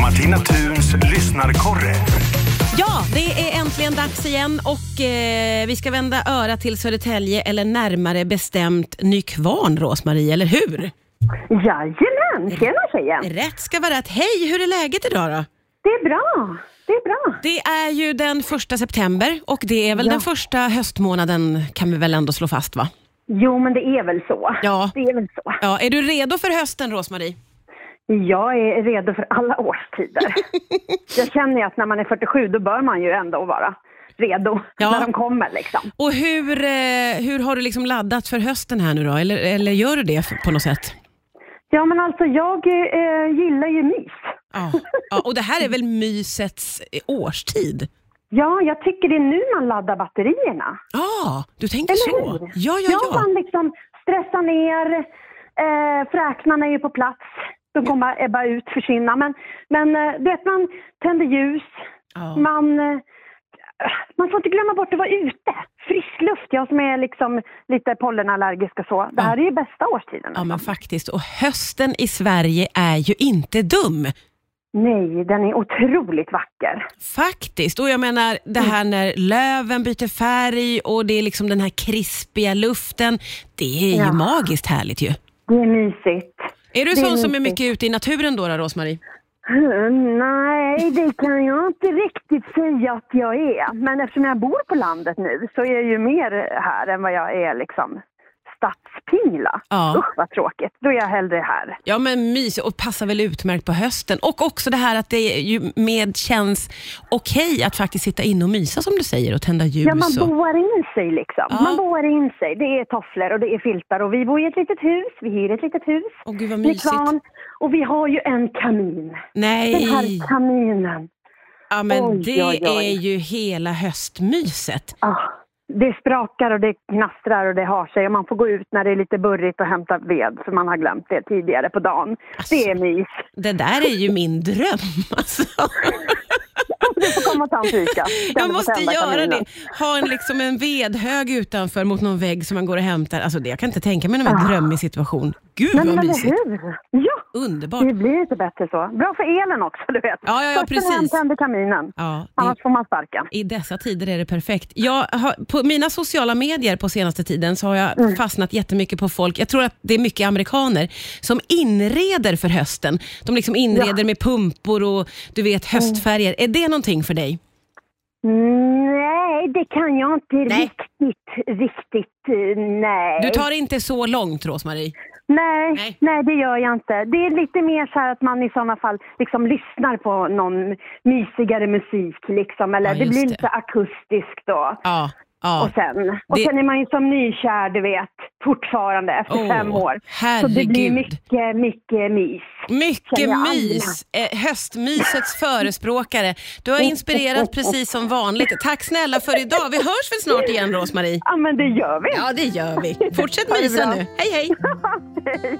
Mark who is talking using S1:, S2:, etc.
S1: Martina Thuns lyssnarkorre.
S2: Ja, det är äntligen dags igen och eh, vi ska vända öra till Södertälje eller närmare bestämt Nykvarn, Rosmarie, eller hur?
S3: Jajamän, tjena tjejen.
S2: Rätt ska vara rätt. Hej, hur är läget idag då?
S3: Det är bra, det är bra.
S2: Det är ju den första september och det är väl
S3: Ja.
S2: den första höstmånaden kan vi väl ändå slå fast va?
S3: Jo, men det är väl så.
S2: Ja.
S3: Det är väl så.
S2: Ja, är du redo för hösten Rosmarie?
S3: Jag är redo för alla årstider. jag känner ju att när man är 47 då bör man ju ändå vara redo
S2: Ja.
S3: när de kommer liksom.
S2: Och hur, eh, hur har du liksom laddat för hösten här nu då? Eller, eller gör du det f- på något sätt?
S3: Ja, men alltså jag eh, gillar ju mys.
S2: Ja. ja, och det här är väl mysets eh, årstid?
S3: Ja, jag tycker det är nu man laddar batterierna.
S2: Ja, du tänker så?
S3: hur?
S2: Ja, ja, ja.
S3: man liksom stressar ner, eh, fräknarna är ju på plats. De kommer bara ebba ut, försvinna. Men, men eh, du vet, man tänder ljus,
S2: Ja.
S3: man, eh, man får inte glömma bort att vara ute. Frisk luft, jag som är liksom lite pollenallergisk och så. Det här är ju bästa årstiden.
S2: Ja men faktiskt, och hösten i Sverige är ju inte dum.
S3: Nej, den är otroligt vacker.
S2: Faktiskt, och jag menar det
S3: Mm.
S2: här när löven byter färg och det är liksom den här krispiga luften. Det är ju
S3: Ja.
S2: magiskt härligt ju.
S3: Det är mysigt.
S2: Är du
S3: Det är
S2: sån som är
S3: mysigt.
S2: mycket ute i naturen då, då Rosmarie?
S3: Hmm, Nej, det kan jag inte riktigt säga att jag är. Men eftersom jag bor på landet nu så är jag ju mer här än vad jag är liksom stadspingla.
S2: Ja.
S3: Usch vad tråkigt, då är jag hellre här.
S2: Ja men mys och passar väl utmärkt på hösten. Och också det här att det är ju med känns okej att faktiskt sitta inne och mysa som du säger och tända ljus.
S3: Ja, man
S2: och...
S3: boar in sig liksom.
S2: Ja.
S3: Man boar in sig. Det är tofflor och det är filtar och vi bor i ett litet hus. Vi hyr ett litet hus.
S2: Åh, gud vad
S3: med
S2: mysigt.
S3: kvarn. Och vi har ju en kamin. Den
S2: Nej,
S3: här kaminen.
S2: ja, men
S3: Oj,
S2: det
S3: oj, oj.
S2: är ju hela höstmyset.
S3: Ah, det sprakar och det knastrar och det har sig och man får gå ut när det är lite burrigt och hämta ved för man har glömt det tidigare på dagen.
S2: Alltså.
S3: Det är mys.
S2: Det där är ju min dröm alltså.
S3: Du får komma och ta en fika.
S2: Jag
S3: Sen
S2: måste
S3: tända
S2: göra
S3: kaminen.
S2: det. Ha en, liksom en vedhög utanför mot någon vägg som man går och hämtar. Alltså, det, jag kan inte tänka mig någon mer drömmig situation. Gud
S3: Ah. Nej,
S2: vad
S3: men eller
S2: mysigt.
S3: hur? Ja,
S2: Underbart.
S3: det blir inte bättre så. Bra för elen också, du vet.
S2: Ja, ja, ja,
S3: Först när
S2: precis.
S3: man tänder kaminen.
S2: Ja, det,
S3: Annars får man sparken.
S2: I dessa tider är det perfekt. Jag har, på mina sociala medier på senaste tiden så har jag
S3: Mm.
S2: fastnat jättemycket på folk, jag tror att det är mycket amerikaner, som inreder för hösten. De liksom inreder med pumpor och du vet höstfärger.
S3: Mm.
S2: Är det någonting för dig?
S3: Nej, det kan jag inte riktigt, riktigt, eh, nej.
S2: Du tar det inte så långt Rosmarie.
S3: Nej,
S2: Nej.
S3: nej. det gör jag inte. Det är lite mer så här att man i sådana fall liksom lyssnar på någon mysigare musik liksom, eller
S2: Ja,
S3: det
S2: just
S3: blir
S2: det.
S3: lite akustiskt då.
S2: Ja, ja.
S3: Och sen, och
S2: Det-
S3: sen är man ju som nykär, du vet, fortfarande efter
S2: Åh,
S3: fem år. Så det blir
S2: herregud. Mm.
S3: mycket, mycket mys.
S2: Mycket
S3: Känner jag
S2: mys. Eh, höstmysets förespråkare. Du har inspirerat precis som vanligt. Tack snälla för idag. Vi hörs väl snart igen Rosmarie?
S3: Ja, men det gör vi.
S2: Ja, det gör vi. Fortsätt
S3: Ha det
S2: mysa
S3: bra.
S2: nu. Hej, hej.